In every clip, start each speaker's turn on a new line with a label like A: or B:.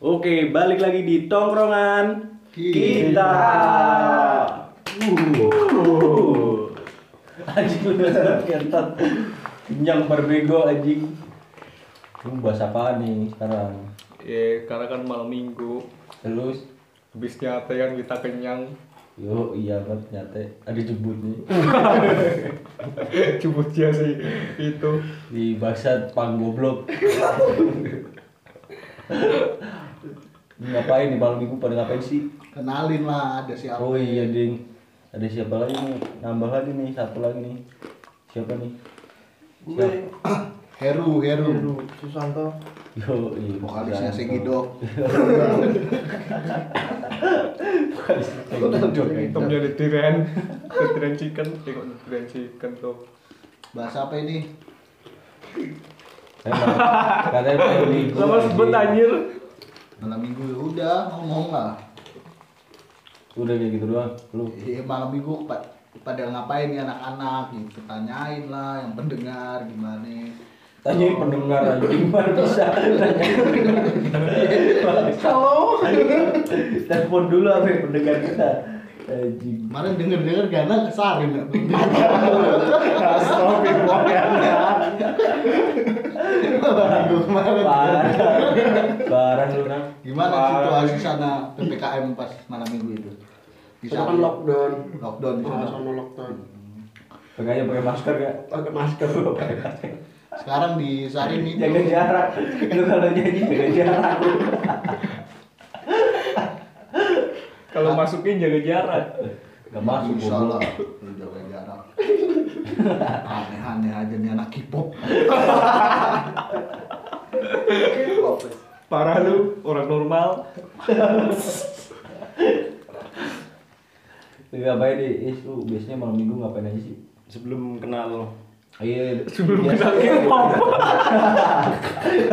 A: Oke, balik lagi di tongkrongan kita.
B: Kita.
A: Uh. Anjing lu udah kentot. Kenyang berbego anjing. Lu bahas apa nih sekarang?
B: Ya, karena kan malam minggu
A: Terus
B: habis nyate kan kita kenyang
A: Yo, iya banget nyate. Ada jebut nih
B: cubutnya sih itu
A: di bangsat pang goblok. ngapain di malam minggu pada ngapain sih?
C: kenalin lah ada siapa
A: Oh iya ding, ada siapa lagi nih? Nambah lagi nih, satu lagi nih. Siapa nih? Siapa?
C: Heru Heru
D: Susanto
A: Yo, iya.
C: vokalisnya Segido
A: Vokalisnya Segido.
B: hitamnya di tiren di tiren chicken tengok di tiren chicken tuh
C: bahas apa ini
A: Emang, Katanya pengen libur,
B: sama
A: anjing.
B: sebut anjir
C: malam minggu ya udah ngomong lah
A: Udah kayak gitu doang. Lu
C: Iya, malam minggu pa- pada ngapain ya anak-anak gitu tanyain lah yang pendengar gimana
A: tanyain pendengar anjing mana bisa. Tanyain pendengar.
D: halo
A: Telepon dulu apa yang pendengar kita. Anjing.
C: kemarin denger denger Gana kesarin ya. malam minggu kemarin
A: Parah. Parah lu nang.
C: gimana
B: Parah.
C: situasi sana ppkm pas malam minggu itu
D: kita kan lockdown
C: lockdown di sana.
D: sama lockdown
A: Makanya pakai masker ya.
D: pakai masker
C: sekarang di Sarin itu
A: Jaga jarak. Lu kalau nyanyi jaga jarak.
B: kalau masukin jaga jarak
A: Gak masuk
C: bisa
A: goblok.
C: lah Lu jaga jarak aneh-aneh aja nih anak K-pop
B: parah lu orang normal
A: Lu ngapain deh? ya, Is lu biasanya malam minggu ngapain aja sih?
D: sebelum kenal
A: Iya,
B: sebelum
A: biasa.
B: kenal K-pop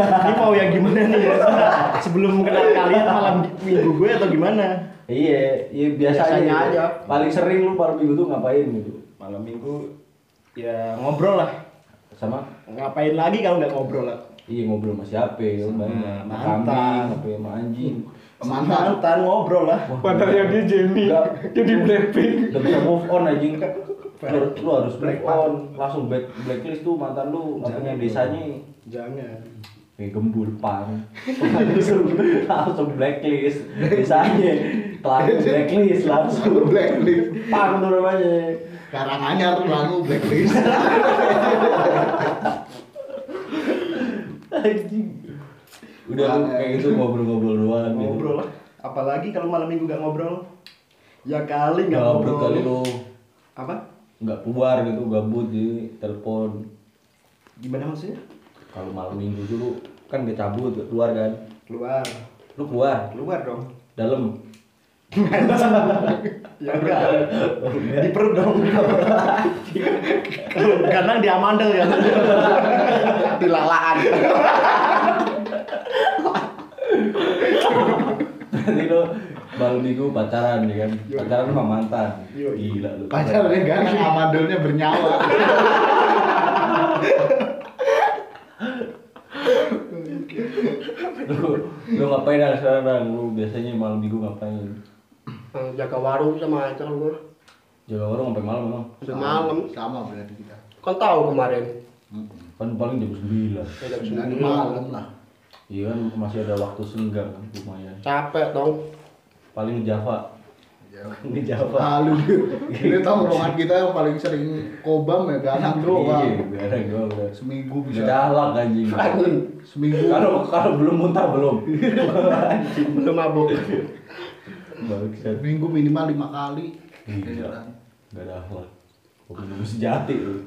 D: ini mau yang gimana nih ya sebelum kenal kalian malam minggu gue atau gimana
A: Iya, iya biasanya,
D: Biasanya
A: gitu.
D: aja.
A: Paling sering lu malam minggu tuh ngapain gitu?
D: malam minggu ya ngobrol lah
A: Sama?
D: ngapain lagi kalau nggak ngobrol lah
A: Iya ngobrol sama siapa ya? Sama
D: mantan.
A: kambing, ngobrol sama anjing.
C: mantan
D: mantan ngobrol lah
B: padahal dia Jenny
A: Enggak.
B: jadi Blackpink
A: Gak bisa move on anjing. Lu, harus- lu harus move on, langsung back blacklist tuh mantan lu katanya desanya
D: jangan
A: kayak gembul pang langsung langsung blacklist desanya langsung blacklist langsung
C: Aku blacklist
A: pang tuh namanya
C: Karanganyar lalu blacklist
A: anjing udah lu kayak gitu ngobrol-ngobrol doang gitu.
D: ngobrol lah apalagi kalau malam minggu nggak ngobrol ya kali nggak
A: nggak ngobrol
D: ngobrol
A: kali lu
D: apa
A: nggak keluar gitu gabut di telepon
D: gimana maksudnya
A: kalau malam minggu dulu kan gak cabut nggak keluar kan
D: keluar
A: lu keluar
D: keluar dong
A: dalam
D: ya enggak di perut dong karena di amandel ya
C: dilalaan
A: berarti lu malam minggu pacaran ya kan pacaran sama mantan
D: Yo.
A: gila lu
C: pacarnya Gana kan amadulnya bernyawa
A: lu lu ngapain dah sekarang Dang? lu biasanya malam minggu ngapain
E: Hmm,
D: jaga warung sama aja gue
A: jaga warung sampai malam emang
D: udah malam
C: sama berarti kita
D: kan tahu kemarin
C: Mm-mm.
A: kan paling jam 9
D: Ya, jam
C: Sembilan
D: sembilan.
C: malam lah
A: iya kan masih ada waktu senggang kan, lumayan
D: capek dong
A: paling Java ini Java
C: lalu ini tongkrongan kita yang paling sering kobam ya Gana
A: iya
C: doang
A: bener doang
C: seminggu
A: Udah
C: bisa
A: dahlak anjing.
C: seminggu
A: Kalau kalau belum muntah belum.
D: belum mabuk
A: Bangsat.
C: seminggu minimal lima kali
A: Iya. Enggak dahlak. Gua Minum sejati lu.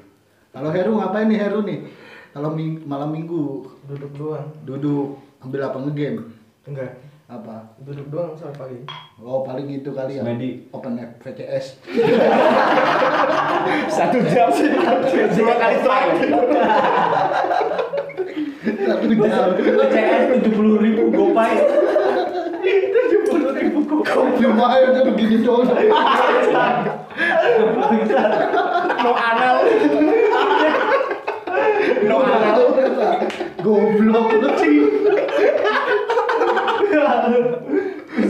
C: Kalau Heru ngapain nih Heru nih? Kalau ming- malam minggu
D: duduk doang
C: duduk ambil apa ngegame?
D: enggak
C: Apa?
D: duduk doang sampai pagi
C: Oh paling itu kali ya.
A: Semedi.
C: Open net VCS.
D: satu jam sih dua kali strike
C: Satu jam.
A: Gua CS 70 ribu gopay. 70 ribu gopay.
C: Lumayan tuh begini doang.
A: Bangsat.
D: no anal no anal
C: Goblok lu sih.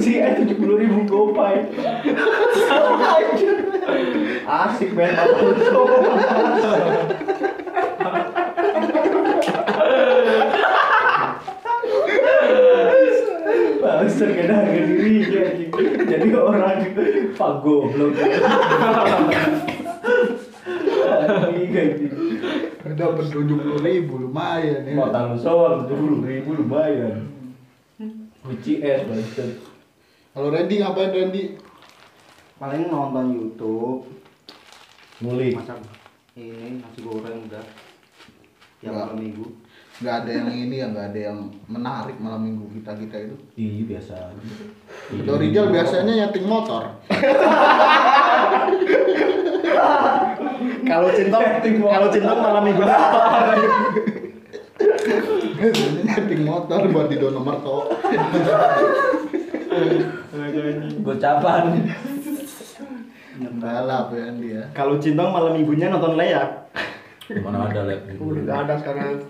A: Si A tujuh puluh ribu gopay. Asik men. Bangsa kena harga diri anjing. Jadi orang pak goblok. Anjing anjing.
C: Dapat tujuh puluh ribu lumayan ya.
A: Potong soal tujuh puluh ribu lumayan. Uci es bangsa.
C: Kalau Randy ngapain Randy?
F: paling nonton YouTube
A: Mulik.
F: masak ini nasi goreng udah tiap
C: Enggak.
F: malam minggu
C: Gak ada yang ini ya, gak ada yang menarik malam minggu kita kita itu.
A: Iya biasa aja. Iya.
C: Kalau Rizal biasanya nyeting motor.
D: Kalau cinta, kalau cinta malam minggu.
C: Biasanya nyeting motor buat di Donomarto.
B: Lagi anjing.
A: Gocapan.
C: Balap ya dia.
D: Kalau cinta malam minggunya nonton leak.
A: Mana ada lab?
D: Udah ada sekarang.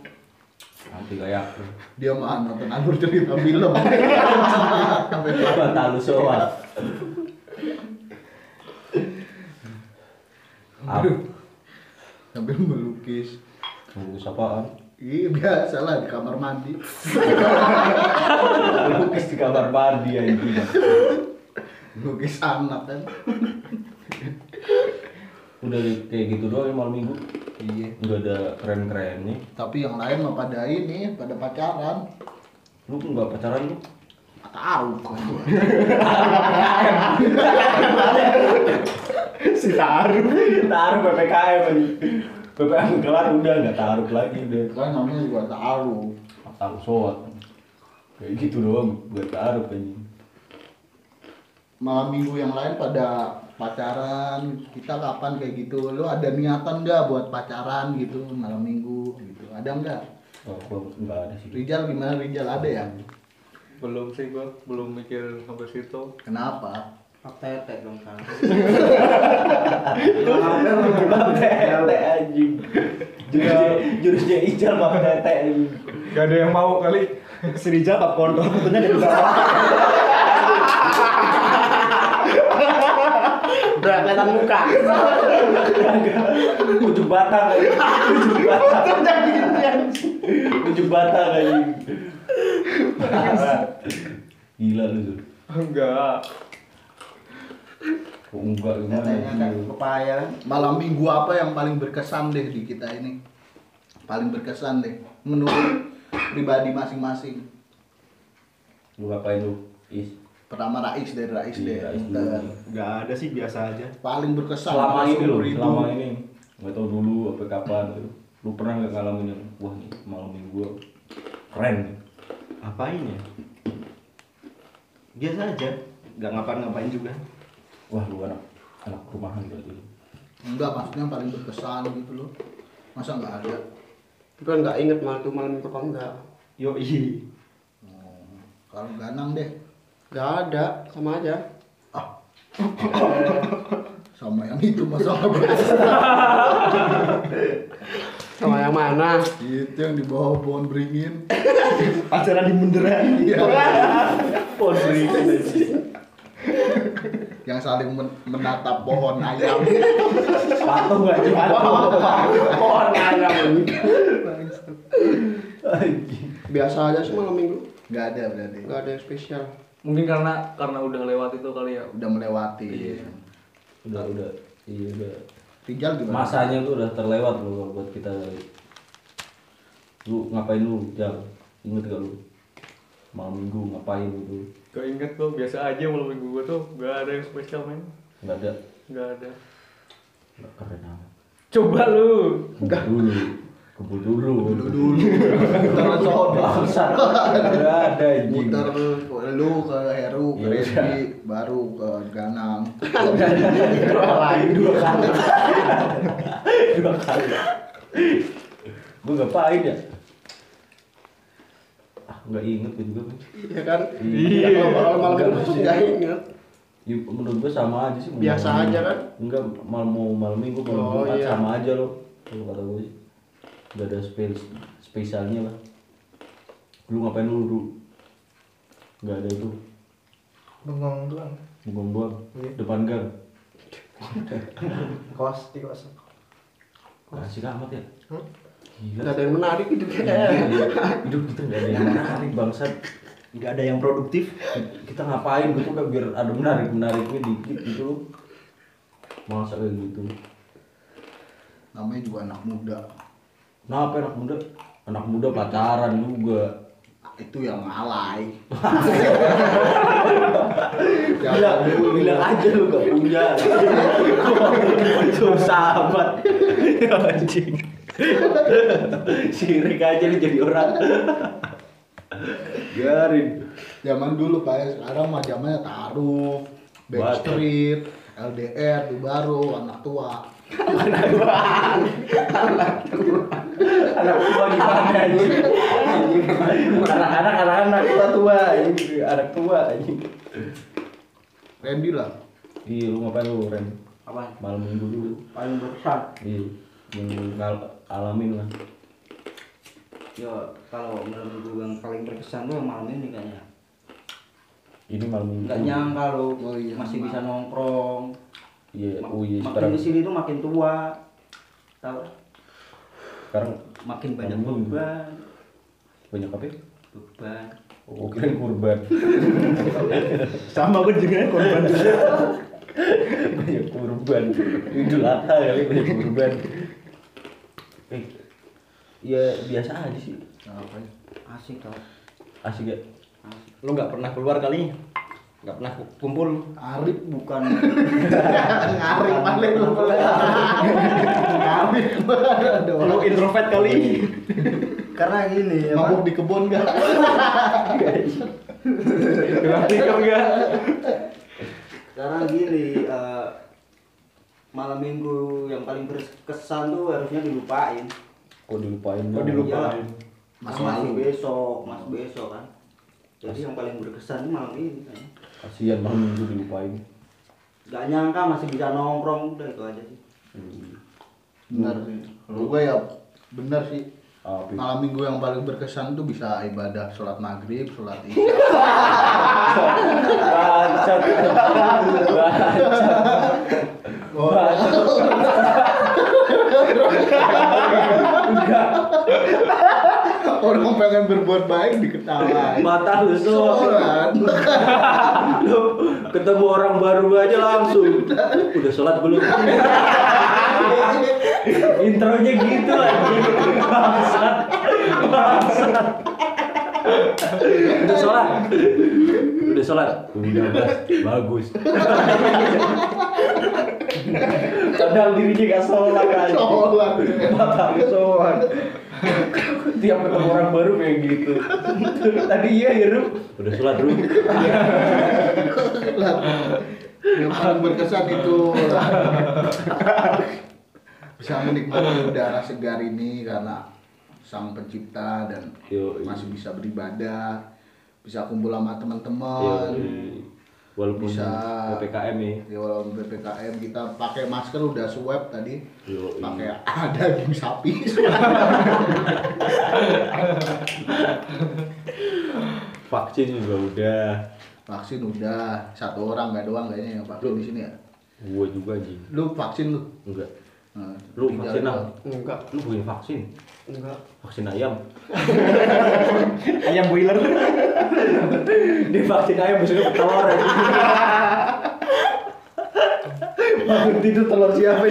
A: Nanti kayak
C: Dia mah nonton alur cerita film. Sampai
A: apa talu soal. Apa?
C: sambil melukis.
A: Bungkus apaan?
C: Iya biasa lah di kamar mandi.
A: Bungkus di kamar mandi ya, anjing.
C: Lukis anak kan.
A: Udah kayak gitu doang ya malam minggu.
C: Iya.
A: Enggak ada keren-keren nih.
C: Tapi yang lain mah pada ini, pada pacaran.
A: Lu enggak pacaran lu?
C: Nggak Tahu kok. gua.
D: Si Taru.
A: Taruh PPKM anjing. PPKM kelar udah enggak taruh lagi udah.
C: Kan namanya juga tahu.
A: Taruh soal. Kayak gitu doang gue taruh anjing.
C: malam minggu yang lain pada pacaran kita kapan kayak gitu lu ada niatan nggak buat pacaran gitu malam minggu gitu ada nggak
A: Oh, gua enggak ada sih.
C: Rijal gimana Rijal ada ya
B: Belum sih gua, belum mikir sampai situ.
C: kenapa
F: pak tetek dong kan Hampir lu
A: Bang tete anjing. Jurusnya jurusnya Ijal bang tete anjing.
B: Gak ada yang mau kali.
D: Si Rijal bab kontol fotonya dari bawah. Udah kelihatan muka.
A: Ujung batang anjing. Ujung batang. Ujung batang anjing. Parah. Gila lu. Zul.
B: Enggak.
A: Kok enggak gimana?
F: teteknya kan
A: anjing?
F: kepaya
C: malam minggu apa yang paling berkesan deh di kita ini paling berkesan deh menurut pribadi masing-masing
A: Lu ngapain lu? Is.
C: pertama Rais dari Rais deh
A: Iya, Rais
C: Bentar.
A: dulu.
D: Enggak ada sih biasa aja.
C: paling berkesan
A: Selama ini lu,
C: 10.000.
A: selama ini. Enggak tahu dulu apa kapan lu. Lu pernah enggak ngalamin yang wah nih malam minggu gua keren. nih.
D: Apain ya? Biasa aja. Enggak ngapain-ngapain juga.
A: Wah, lu anak anak rumahan berarti. lu.
C: enggak maksudnya yang paling berkesan gitu loh masa nggak ada
E: Gue nggak inget malam itu malam itu apa enggak.
D: Yoi.
C: Hmm. kalau Ganang deh
E: Nggak ada, sama aja.
C: sama yang itu masalah berkesan
E: Sama yang mana?
C: itu yang di bawah pohon beringin Iya.
D: Pacaran di Mendera.
A: Pohon beringin anjing.
C: yang saling men- menatap pohon ayam
A: Patung gak cuma
E: Pohon ayam.
A: Anjing.
E: Biasa aja sih malam minggu.
C: nggak ada berarti
E: Nggak ada yang spesial.
B: Mungkin karena karena udah lewat itu kali ya.
C: udah melewati
A: Iya. Udah udah iya udah.
C: Rijal gimana
A: Masanya tuh udah terlewat loh kalau buat kita. Lu ngapain lu jam? Ingat gak lu? Malam minggu ngapain gitu?
B: Gak inget gua, biasa aja malam minggu gua tuh. Gak ada yang spesial men.
A: Gak ada.
B: Gak ada.
A: Gak keren amat.
B: Coba lu.
A: Kumpul dulu. Kumpul dulu.
C: dulu dulu muter sono
A: Bangsat. Gak ada anjing.
C: muter ke- lu ke Heru ke
A: Iya,
C: Rizky baru ke Ganang
A: Lain dua kali. Dua kali. Gue ngapain ya? Ah, gak inget gue juga. Bang.
E: Iya kan?
A: Iya.
E: Ya, kalau- Kalau malam
A: Nggak
E: minggu tuh
A: maksudnya.
E: nggak inget.
A: Ya, menurut gue sama aja sih. mau
E: Biasa
A: malam
E: aja
A: minggu.
E: kan?
A: Enggak, mal mau malam minggu
E: Oh,
A: kalau Jumat
E: iya.
A: sama aja lo. Kalau kata gue sih. Gak ada space spesialnya lah. Lu ngapain lu, Ru? nggak ada itu
B: bengong doang
A: buang-buang
B: Iya.
A: depan gang
E: ya.
B: kos di kos
A: asik amat ya
B: Hmm?
A: gila
E: Gak ada yang menarik hidupnya
B: Iya.
E: kayaknya.
A: hidup kita nggak ada yang menarik bangsat
D: nggak ada yang produktif
A: kita ngapain gitu kan biar ada menarik menariknya dikit gitu loh masa kayak gitu
C: namanya juga anak muda
A: kenapa ya, anak muda anak muda pacaran juga
C: itu yang alay
A: bilang
C: Iya.
A: bilang aja lu gak punya cuma sahabat Ya, anjing sirik aja lu jadi orang garin
C: zaman dulu pak ya. sekarang mah zamannya taruh backstreet LDR itu baru anak tua
A: anak tua gimana anjing anak-anak anak-anak tua tua anjing anak tua anjing
C: Randy lah
A: iya lu ngapain lu Ren
F: Apa?
A: malam minggu dulu
F: Paling berkesan.
A: iya yang ngal- alamin lah
F: Ya kalau menurut gue yang paling berkesan tuh yang malam ini kayaknya.
A: ini malam minggu
F: Enggak nyangka lo
C: Oh iya,
F: masih
C: malam.
F: bisa nongkrong.
A: iya
F: Ma-
A: oh iya
F: makin
A: sekarang
F: kesini tuh makin tua. Tahu?
A: sekarang
F: Makin banyak
A: Makin tua.
F: beban,
A: banyak apa ya?
F: beban.
A: oh kirain kurban
D: sama gue
F: ya,
D: juga korban juga
A: banyak kurban idul adha kali banyak kurban eh ya biasa aja sih
C: apa ya?
F: Asik tau.
A: asik gak
F: Asik.
D: lo nggak pernah keluar kali nggak pernah kumpul
F: Arif bukan
C: ngarik paling lu ngarik ada
D: lo
C: orang
D: introvert kali
F: karena ini apa?
C: mabuk di kebun gak
D: nggak pikir nggak
F: Karena gini, eh, malam minggu yang paling berkesan tuh harusnya dilupain.
A: kok Oh, dilupain dong?
D: Kok Oh, dilupain? Lupain.
F: Ya,
C: Mas
F: kan masih
C: malu.
F: Iya. besok, mas besok kan. Jadi yang paling berkesan tuh malam ini. Kan.
A: kasihan malam minggu dilupain
F: Gak nyangka masih bisa nongkrong, udah itu aja sih.
A: Hmm,
C: bener sih kalau gue ya bener sih
A: Apa?
C: malam minggu yang paling berkesan tuh bisa ibadah sholat maghrib sholat isya
A: bangsat
C: oh, orang pengen berbuat baik diketawain
A: mata lu
C: sholat
A: lu ketemu orang baru aja langsung udah sholat belum intronya gitu anjing bangsat bangsat udah sholat udah sholat udah Bas. bagus padahal dirinya gak sholat anjing.
C: sholat
A: mata lu soan tiap ketemu orang baru kayak gitu tadi iya ya Ru. udah sholat Ru.
C: sholat yang paling berkesan itu bisa menikmati udara segar ini karena sang pencipta dan
A: Yoi.
C: masih bisa beribadah bisa kumpul sama teman-teman
A: walaupun
C: Bisa.
A: PPKM ya
C: Ya walaupun ppkm kita pakai masker udah swab tadi,
A: Yoi.
C: pakai ada daging sapi.
A: vaksin juga udah
C: vaksin udah satu orang nggak doang kayaknya yang vaksin di sini ya.
A: gua juga anjing
C: Lu vaksin lu?
A: enggak
C: Nah,
A: lu
C: tinggal
A: vaksin apa?
E: Enggak,
A: lu punya vaksin
E: enggak.
A: vaksin ayam
D: ayam boiler
A: dia vaksin ayam besoknya telur
C: Bangun tidur telur siapa?